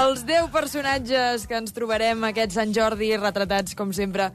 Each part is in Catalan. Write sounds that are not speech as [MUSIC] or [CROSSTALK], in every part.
els 10 personatges que ens trobarem aquest Sant Jordi, retratats, com sempre,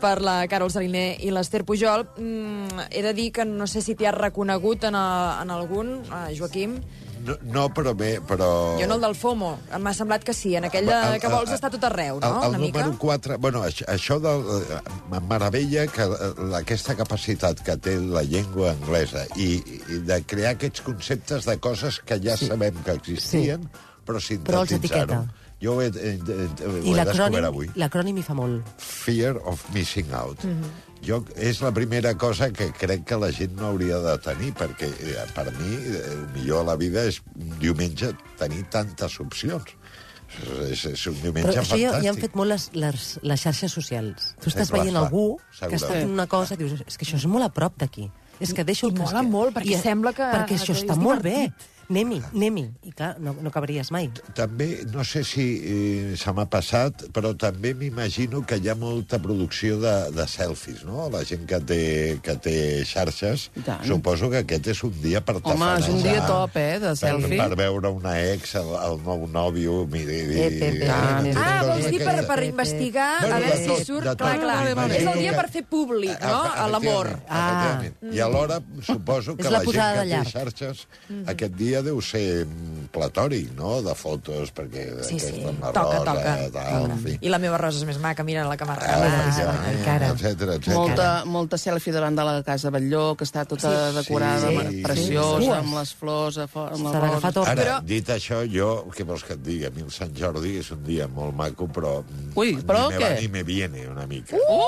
per la Carol Saliner i l'Ester Pujol. Mm, he de dir que no sé si t'hi has reconegut en, a, en algun, a Joaquim. No, no però bé, però... Jo en el del FOMO. M'ha semblat que sí, en aquell de, que vols estar tot arreu, no? El, el Una mica. número 4... Bueno, això, això del, eh, em meravella que eh, aquesta capacitat que té la llengua anglesa i, i de crear aquests conceptes de coses que ja sí. sabem que existien, sí. però els sintetitzar-ho. etiqueta. Jo ho he, he, he, I ho he descobert avui. l'acrònim l'acrònim hi fa molt. Fear of missing out. Mm -hmm. Jo, és la primera cosa que crec que la gent no hauria de tenir, perquè eh, per mi eh, el millor a la vida és un diumenge tenir tantes opcions. És- És, és un diumenge Però això fantàstic. ja, ja han fet molt les, les, les xarxes socials. Tu estàs clar, veient clar, algú que segurament. està fent una cosa i dius, és que això és molt a prop d'aquí. És que deixo el I que mola és que- molt, perquè sembla que- Perquè que això està és molt bé. divertit. Anem-hi, anem-hi. I clar, no, no acabaries mai. També, no sé si eh, se m'ha passat, però també m'imagino que hi ha molta producció de, de selfies, no? La gent que té, que té xarxes. I tant. Suposo que aquest és un dia per Home, és un dia top, eh, de per- selfie. Per, veure una ex, el, el nou nòvio... Miri, tota Ep, ep, ep. Ah, vols dir per, per Bé, bé. investigar, Bueno, a veure de si tot, surt... de tot. Clar, clar. Vale, vale. És el dia per fer públic, no?, Ah, l'amor. efectivament, efectivament. I alhora suposo que És la, la gent posada que de té llarg. xarxes aquest dia deu ser mm, platòric, no?, de fotos, perquè Sí, sí, aquesta amb la toca, rosa, toca. tal, en fi. I la meva rosa és més maca, mira la que m'ha Ah, regalat. ja, encara. Etcètera, etcètera. Molta, molta selfie davant de la casa Batlló, que està tota sí, decorada, sí, sí, sí. preciosa, Sí. sí. amb les flors, a fo- amb Se la l'agafa rosa... tot. Ara, Però- dit això, jo, què vols que et digui? A mi el Sant Jordi és un dia molt maco, però... mm, Ui, però ni me va què? ni me viene, una mica. Uh!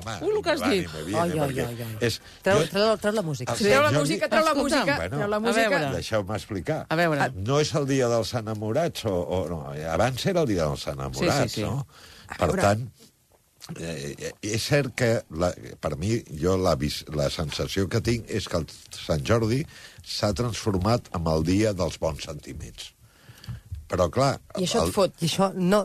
Home, Ui, el ni que me has va, dit. ni me viene, Ai, ai, eh, perquè ai, ai. És, Treu, jo- Ah, treu, treu la música. Sí. Treu la Jo- música, treu la Escolta'm, música, bueno, treu la a música. veure. Deixeu-me explicar. Ah, A veure. No és el dia dels enamorats, o, o no, abans era el dia dels enamorats, Sí, sí, sí. no? A Per veure. tant, eh, eh, és cert que la, per mi, jo la, vis- la sensació que tinc és que el Sant Jordi s'ha transformat en el dia dels bons sentiments. Però, clar... I això et fot. I això no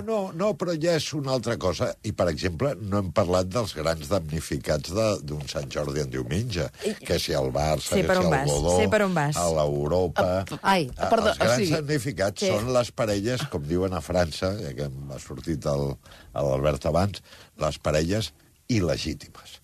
No, no, no, però ja és una altra cosa. I, per exemple, no hem parlat dels grans damnificats de- d'un Sant Jordi en diumenge. Que si el Barça, Sé que per si on el vas, Godó, sé per on vas. a l'Europa... Ai, Ah, perdó, els grans o sigui, damnificats sí. són les parelles, com diuen a França, ja que m'ha sortit el- a l'Albert abans, les parelles il·legítimes.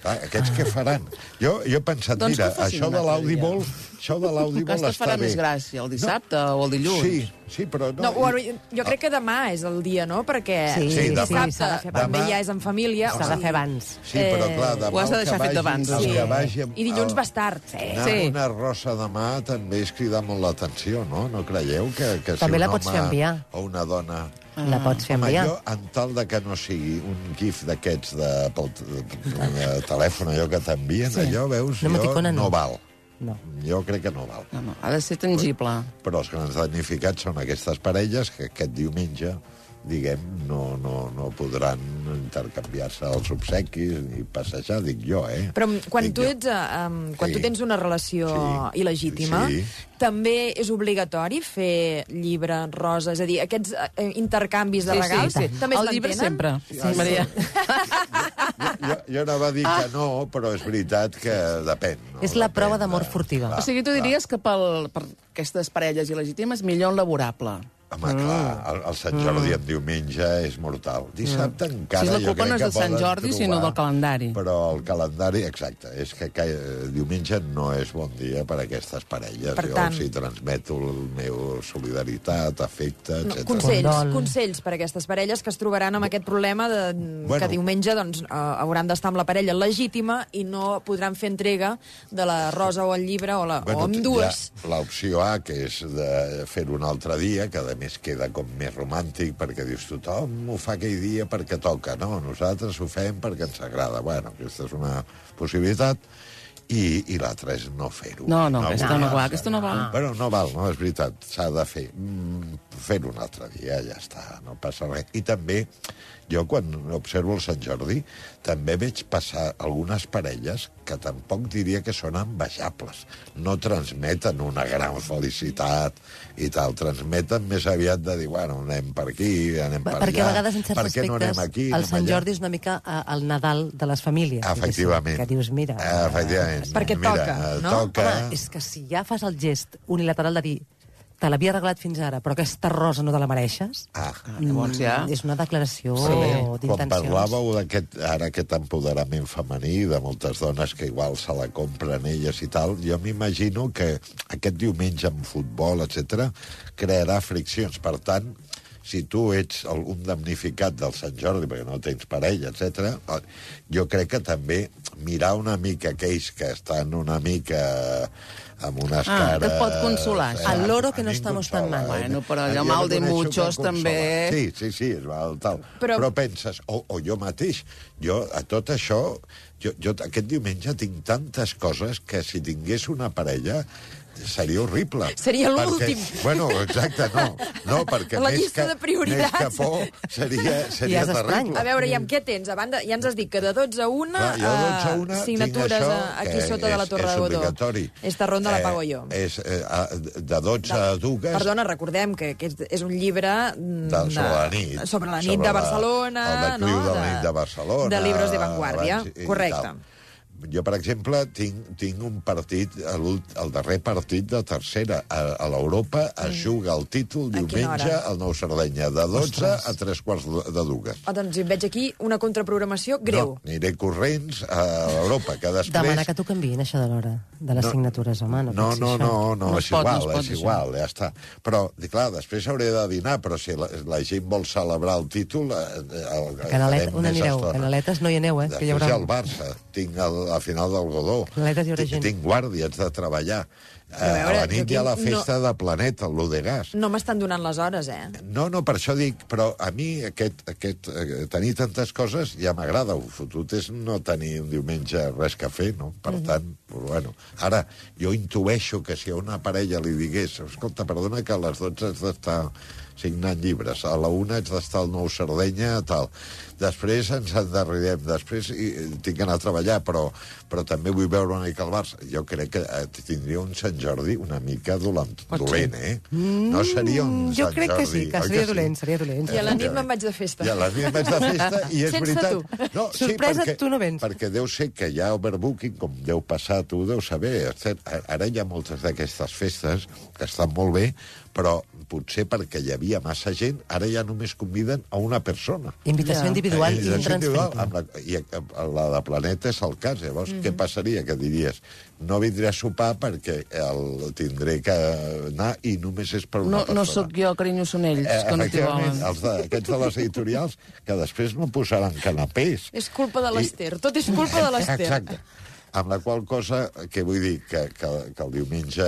Clar, Ah. aquests què faran? Jo, jo he pensat, Doncs mira, que ho facin això un de altre dia. l'Audible... Això de l'Audible Aquesta està farà bé. més gràcia, el dissabte o el dilluns. Sí, sí, però no... No, bueno, i- jo crec que demà és el dia, no?, perquè Sí, Sí, demà. dissabte s'ha de fer abans. també ja és en família. S'ha de fer abans. Sí, però clar, demà Ho has de el que deixar fet vagi- abans. el Sí. que vagi amb- I dilluns el- vas tard. Sí. Anar Sí. amb una rosa de mà també és cridar molt l'atenció, no? No creieu que, que si També un la pots home fer enviar. o una dona... La pots fer Home, enviar. jo, en tal de que no sigui un gif d'aquests de, pel de, de telèfon, allò que t'envien, Sí. allò, veus, No jo emoticona, no no. val. No. Jo crec que no val. No, no, ha de ser tangible. Però els grans damnificats són aquestes parelles que aquest diumenge diguem, no, no, no podran intercanviar-se els obsequis ni passejar, dic jo, eh? Però quan, Dic tu, jo. ets, eh, um, quan Sí. tu tens una relació Sí. il·legítima, Sí. també és obligatori fer llibre, rosa, és a dir, aquests eh, intercanvis de regals també es el llibre mantenen? sempre, sí, Maria. Jo, jo anava a dir que no, però és veritat que depèn. No? És la Depèn Ah, prova d'amor furtiva. clar, O sigui, tu diries que pel, per aquestes parelles il·legítimes, millor en laborable. Mm. Home, clar, el, el Sant Jordi en diumenge és mortal. Dissabte encara... Si Mm. és la jo culpa crec no és que del Sant poden Jordi, sinó del calendari. Però el calendari, exacte, és que ca... eh, diumenge no és bon dia per a aquestes parelles. Per jo tant. els hi transmeto el meu solidaritat, afecte, No, etc. consells, Condol. consells per a aquestes parelles que es trobaran amb aquest problema de, bueno, Bueno. que diumenge doncs, eh, hauran d'estar amb la parella legítima i no podran fer entrega de la rosa o el llibre o, la, o amb dues. hi ha L'opció A, que és de fer-ho un altre dia, que a més queda com més romàntic, perquè dius tothom ho fa aquell dia perquè toca, no? Nosaltres ho fem perquè ens agrada. Bueno, aquesta és una possibilitat. I, i l'altra és no fer-ho. No, no, aquesta vull no pas, val, aquesta no val. Bueno, no val, no, és veritat, s'ha de fer. Mm, fer-ho un altre dia, ja està, no passa res. I també, jo quan observo el Sant Jordi, també veig passar algunes parelles que tampoc diria que són envejables. No transmeten una gran felicitat i tal, transmeten més aviat de dir, bueno, anem per aquí, anem per, Perquè a allà, vegades, en certs per què no aspectes, anem aquí, el anem Sant allà?" Jordi és una mica eh, el Nadal de les famílies. Efectivament. diguéssim, Que dius, mira... eh, Efectivament. Perquè mira, toca, eh, no? Toca... Home, és que si ja fas el gest unilateral de dir te l'havia arreglat fins ara, però aquesta rosa no te la mereixes, Ah, Llavors ja... Mm, és una declaració sí. quan d'intencions. parlàveu d'aquest ara aquest empoderament femení de moltes dones que igual se la compren elles i tal, jo m'imagino que aquest diumenge en futbol, etc crearà friccions. Per tant, si tu ets el- un damnificat del Sant Jordi perquè no tens parella, etc, jo crec que també mirar una mica aquells que estan una mica amb unes Ah, cares... que et pot consolar, això. Al loro que no A mi em estamos tan consola, mal. eh? Bueno, però Jo allò mal de reconeixo que em muchos consola. també. eh? Sí, sí, sí, és val, tal. Però- Però... però penses, o, o jo mateix, jo a tot això, jo, jo aquest diumenge tinc tantes coses que si tingués una parella seria horrible. Seria l'últim. Perquè- Bueno, exacte, no. No, perquè La més llista que, de prioritats. Més que por seria, seria Ja és estrany. terrible. A veure, i amb què tens? A banda, ja ens has dit que de 12 a 1, Clar, Mm. Ah, jo de 12 a 1 eh, tinc signatures això, a- aquí que sota de la és- Torre és de Godó. obligatori. Esta ronda la Eh, pago jo. És, eh, a- de 12 a 2... Perdona, recordem que aquest és un llibre... mm, de, sobre la nit. Sobre la nit sobre de Barcelona. El decliu no? de la nit de Barcelona. De llibres de vanguardia, abans i- i correcte. tal. Jo, per exemple, tinc, tinc un partit, a l'ult- el darrer partit de tercera a, a l'Europa, es juga el títol Mm. quina diumenge hora? al Nou Sardenya, de 12 Ostres. a 3 quarts de- de dues. Oh, doncs veig aquí una contraprogramació greu. No, aniré corrents a l'Europa, que després... Demana que t'ho canviïn, això de l'hora, de les No. signatures, home, Ah, no, No, pot ser no, això. no, no, No es és pot, no igual, es pot, és això. igual, ja està. Però, di- clar, després hauré de dinar, però si la, la gent vol celebrar el títol... eh, El, el, Canalet, farem on més anireu? estona. Canaletes no hi aneu, eh? Després Que hi haurà... al Barça, tinc el, la final del Godó. Planetes hi haurà Tinc- gent. Tinc guàrdies de treballar. Eh, veure, a la nit hi ha la Joaquim, festa de Planeta, lo de gas. No m'estan donant les hores, eh? No, no, per això dic, però a mi aquest, aquest, eh, tenir tantes coses ja m'agrada. El fotut és no tenir un diumenge res que fer, no? Per tant, però, bueno, ara jo intueixo que si a una parella li digués escolta, perdona que a les 12 has d'estar signant llibres, a la una haig d'estar al Nou Sardenya, tal. Després ens endarrerem, després i, eh, tinc que anar a treballar, però, però també vull veure una mica el Barça. Jo crec que eh, tindria un Sant Jordi una mica dolent, dolent eh? No seria un Mm, jo Sant crec que Jordi, sí, que oi seria dolent, seria dolent. I a la nit Efectivament. me'n vaig de festa. I a la nit vaig de festa i és Sense veritat. tu. Sorpresa, tu no vens. Perquè deu ser que hi ha overbooking, com deu passar, tu ho deus saber. etcètera. A- Ara hi ha moltes d'aquestes festes que estan molt bé, però potser perquè hi havia massa gent, ara ja només conviden a una persona. Invitació Ja. individual Eh, i la gent igual, intransferible. amb la, I eh, la de Planeta és el cas. Llavors, què passaria? Que diries, no vindré a sopar perquè el tindré que anar i només és per una No, persona. no sóc jo, carinyo, són ells, Eh, que no t'hi efectivament, volen. els de, aquests de les editorials, que després no posaran canapés. [LAUGHS] És culpa de l'Ester, tot és culpa de l'Ester. Exacte. Amb la qual cosa, que vull dir, que, que, que el diumenge,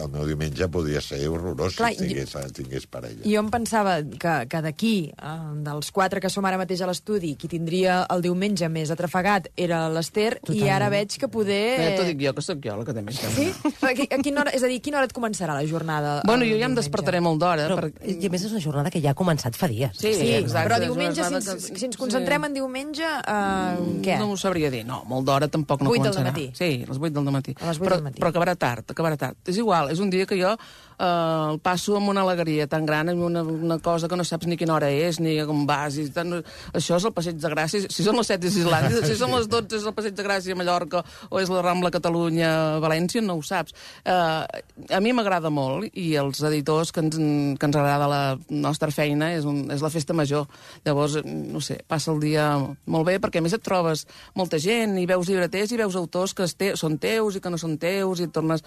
el meu diumenge podia ser horrorós Clar, Clar, si tingués, tingués parella. Jo em pensava que, que d'aquí, eh, dels quatre que som ara mateix a l'estudi, qui tindria el diumenge més atrafegat era l'Ester, i Totalment. ara veig que poder... Ja Eh, t'ho dic jo, que sóc jo la que té més que Sí? [LAUGHS] A, qui- a quina hora, és a dir, a quina hora et començarà la jornada? Bueno, el jo ja em diumenge? despertaré molt d'hora. Però, perquè- I a més és una jornada que ja ha començat fa dies. Sí, Sí, exacte, però és una diumenge, si jornada ens, que- si ens concentrem en diumenge, eh, què? Mm, No ho sabria dir, no, molt d'hora tampoc no Vuit del començarà. dematí. Sí, a les 8 del matí. A les vuit però, del matí. però acabarà tard, acabarà tard. És igual, és un dia que jo eh, el passo amb una alegria tan gran, amb una, una cosa que no saps ni quina hora és, ni com vas, i tant. Això és el Passeig de Gràcia, si són les 7 és Islàndia, si són les 12 és el Passeig de Gràcia a Mallorca, o és la Rambla Catalunya a València, no ho saps. Eh, a mi m'agrada molt, i els editors que ens, que ens agrada la nostra feina és, un, és la festa major. Llavors, no sé, passa el dia molt bé, perquè a més et trobes molta gent, i veus llibreters, i veus autors que es te són teus i que no són teus, i et tornes...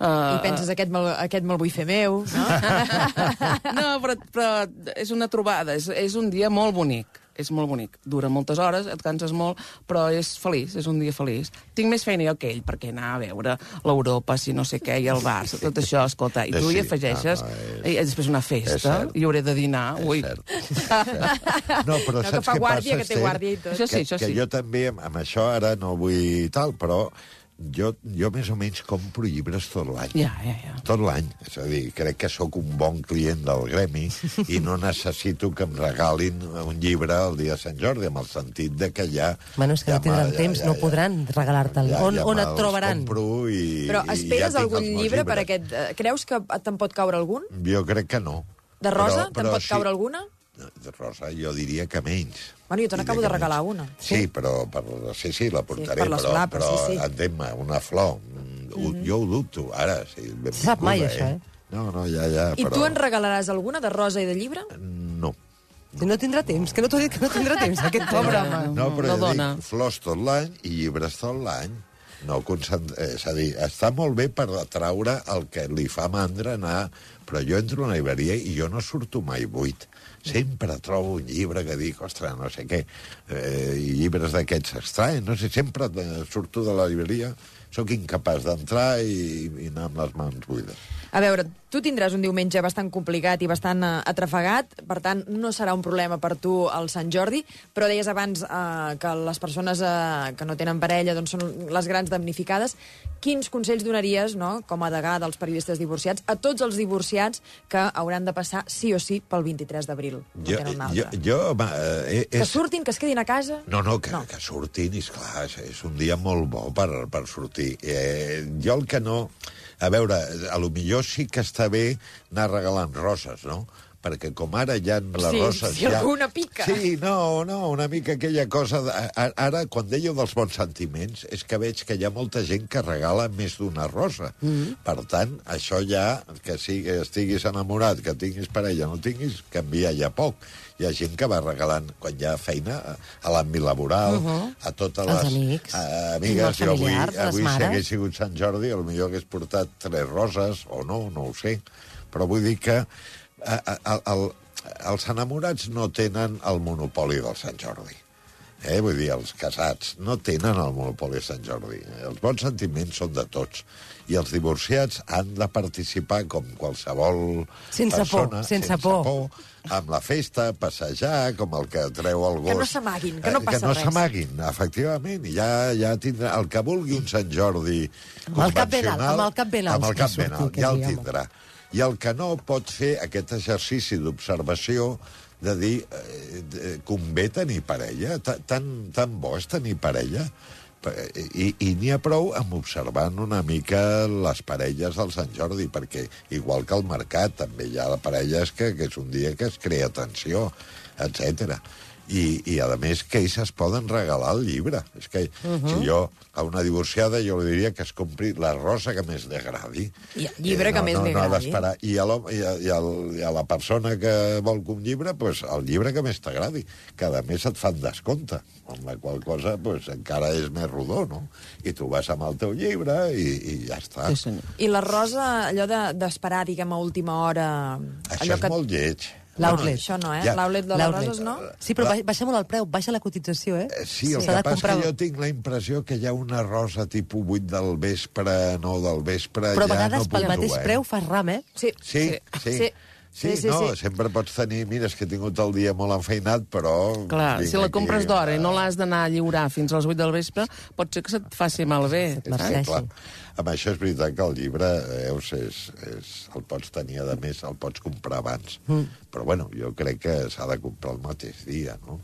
Eh, I penses, aquest me'l aquest me vull fer meu, [LAUGHS] no? no, però, però és una trobada, és, és un dia molt bonic, és molt bonic. Dura moltes hores, et canses molt, però és feliç, és un dia feliç. Tinc més feina jo que ell, perquè anar a veure l'Europa, si no sé què, i el Barça, tot això, escolta, i tu Sí, hi afegeixes, Ah, no, no, és- i després una festa, cert. i hauré de dinar, ui. [LAUGHS] És cert. És cert. No, No, però que saps fa què guàrdia, passa, que té Esther? guàrdia i tot. Això sí, que, això que sí. jo també, amb- amb això ara no vull tal, però jo, jo més o menys compro llibres tot l'any. Ja, ja, ja. Tot l'any. És a dir, crec que sóc un bon client del gremi i [LAUGHS] no necessito que em regalin un llibre el dia de Sant Jordi, amb el sentit de que ja... Bueno, és que no ja tindran m'ha- temps, no podran regalar-te'l. Ja, On- ja on et me'ls trobaran? Compro i, Però i ja esperes tinc algun els meus llibre per llibres. aquest... eh, Creus que te'n pot caure algun? Jo crec que no. De rosa? Te'n pot caure alguna? De rosa jo diria que menys. Bueno, jo te n'acabo de Diria que regalar menys. una. Sí, però per, sí, sí, la portaré, per la però, solapa, però sí, Mhm. sí. entén-me, una flor, mm, ho- jo ho dubto, ara. Sí, Se sap mai, benvinguda, això, eh? No, no, ja, ja, I però... tu en regalaràs alguna de rosa i de llibre? No. No tindrà temps, que no t'ho he dit que no tindrà temps, [LAUGHS] aquest pobre. Pobre home. No, però no jo dona. dic, flors tot l'any i llibres tot l'any. No concent- eh, és a dir, està molt bé per atraure el que li fa mandra anar, però jo entro a una llibreria i jo no surto mai buit. Sempre trobo un llibre que dic, ostres, no sé què, eh, i llibres d'aquests estranys, no sé, sempre eh, surto de la llibreria, sóc incapaç d'entrar i, i anar amb les mans buides. A veure, tu tindràs un diumenge bastant complicat i bastant eh, atrafegat, per tant, no serà un problema per tu el Sant Jordi, però deies abans eh, que les persones eh, que no tenen parella doncs són les grans damnificades. Quins consells donaries, no?, com a degà dels periodistes divorciats, a tots els divorciats que hauran de passar sí o sí pel 23 d'abril? No Jo, tenen un jo, altre. jo, home, eh, Que és, surtin, que es quedin a casa? No, no, que, No. no. que surtin, és clar, és, és un dia molt bo per, per sortir. Eh, jo el que no... A veure, a lo millor sí que està bé anar regalant roses, no? perquè com ara ja en les Sí, roses... si ja... alguna pica. Sí, no, no, una mica aquella cosa... De... a- Ara, quan dèieu dels bons sentiments, és que veig que hi ha molta gent que regala més d'una rosa. Mm -hmm. Per tant, això ja, que sigui, estiguis enamorat, que tinguis parella, no tinguis, canvia ja poc. Hi ha gent que va regalant, quan hi ha feina, a- a l'àmbit laboral, uh Mhm. -huh. a totes Els les amics. a, I els amigues. Jo avui, familiars, les avui si mares. hagués sigut Sant Jordi, potser hagués portat tres roses, o no, no ho sé. Però vull dir que a, a, a, el, els enamorats no tenen el monopoli del Sant Jordi. Eh? Vull dir, els casats no tenen el monopoli de Sant Jordi. Els bons sentiments són de tots. I els divorciats han de participar com qualsevol Sense por, persona, sense sense por. por, amb la festa, passejar, com el que treu el gos. Que no s'amaguin, que no Eh, passa que no res. s'amaguin, efectivament. Ja, ja tindrà el que vulgui un Sant Jordi Amb el cap ben alt, convencional, amb el cap ben alt Amb el va cap sortir ben alt, aquell ja el dia, home. tindrà. I el que no pot fer aquest exercici d'observació de dir, eh, eh, convé tenir parella? Ta- Tan, tan bo és tenir parella? Pa- I, i n'hi ha prou amb observant una mica les parelles del Sant Jordi, perquè igual que al mercat també hi ha parelles que, que és un dia que es crea tensió, etc. I, i a més que ells es poden regalar el llibre és que uh -huh. si jo a una divorciada jo li diria que es compri la rosa que més li agradi I el llibre que Eh, no, més no, li no ha agradi. d'esperar. i, a l'home- i, a, i, al, i a la persona que vol que un llibre pues, el llibre que més t'agradi que a més et fan descompte amb la qual cosa pues, encara és més rodó no? i tu vas amb el teu llibre i, i ja està Sí, senyor. I la Rosa, allò de- d'esperar, de, diguem, a última hora... això allò és molt lleig L'outlet. Això no, eh? Ja. L'outlet de les L'outlet. roses, no? Sí, però ba- baixa molt el preu, baixa la cotització, eh? Eh, Sí, el S'ha que de passa comprar- és que jo tinc la impressió que hi ha una rosa tipus 8 del vespre, 9 del vespre... Però a ja vegades no pel puc mateix dur, eh? preu fas ram, eh? Sí. Sí, sí. Sí, Sí, sí, sí, no, sí. sempre pots tenir... Mira, és que he tingut el dia molt enfeinat, però... Clar, vinc si la aquí, compres d'hora i no eh, l'has d'anar a lliurar fins a les 8 del vespre, pot ser que se't faci malbé. Se't és que, Marceixi. clar, eh, amb això és veritat que el llibre, veus, és, és, el pots tenir, a més, el pots comprar abans. Mm. Però, bueno, jo crec que s'ha de comprar el mateix dia, no?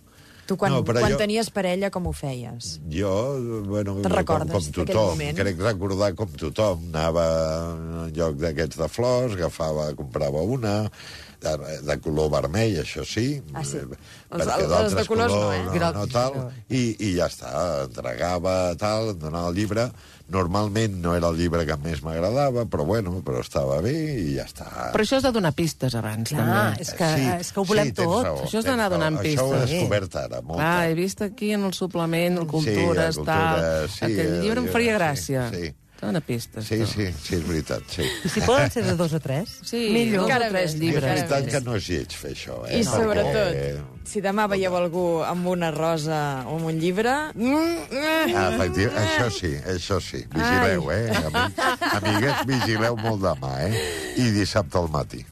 Tu quan, no, però quan jo... tenies parella, com ho feies? Jo, bueno, Te'n com, recordes com d'aquell tothom, moment? crec recordar com tothom. Anava a un lloc d'aquests de flors, agafava, comprava una, de, de color vermell, això sí. Ah, sí. eh, Els- perquè els- d'altres els de colors no, eh? no, Grocs, no tal. no. I, I ja està, entregava tal, em donava el llibre. Normalment no era el llibre que més m'agradava, però bueno, però estava bé i ja està. Però això has de donar pistes abans, també. Clar, és que, és que ho volem sí, tens tot. Raó, Això has tens d'anar raó. Això donant ho he eh? pistes. descobert ara, molt Clar, tard. Ah, he vist aquí en el suplement, el Cultures, Cultura, tal... sí, Aquell el llibre em llibre, faria sí, gràcia. sí. Dona pistes. Sí, tu. sí, sí, és veritat, sí. I si poden ser de dos o tres? [LAUGHS] Sí, Millor. dos Encara o tres més, És llibres. encara veritat més. que no és lleig fer això, eh? I Perquè, sobretot, si demà veieu algú amb una rosa o amb un llibre... mm, Eh, efectiu, això sí, això sí. Vigileu, eh? Ami- Amigues, vigileu molt demà, eh? I dissabte al matí.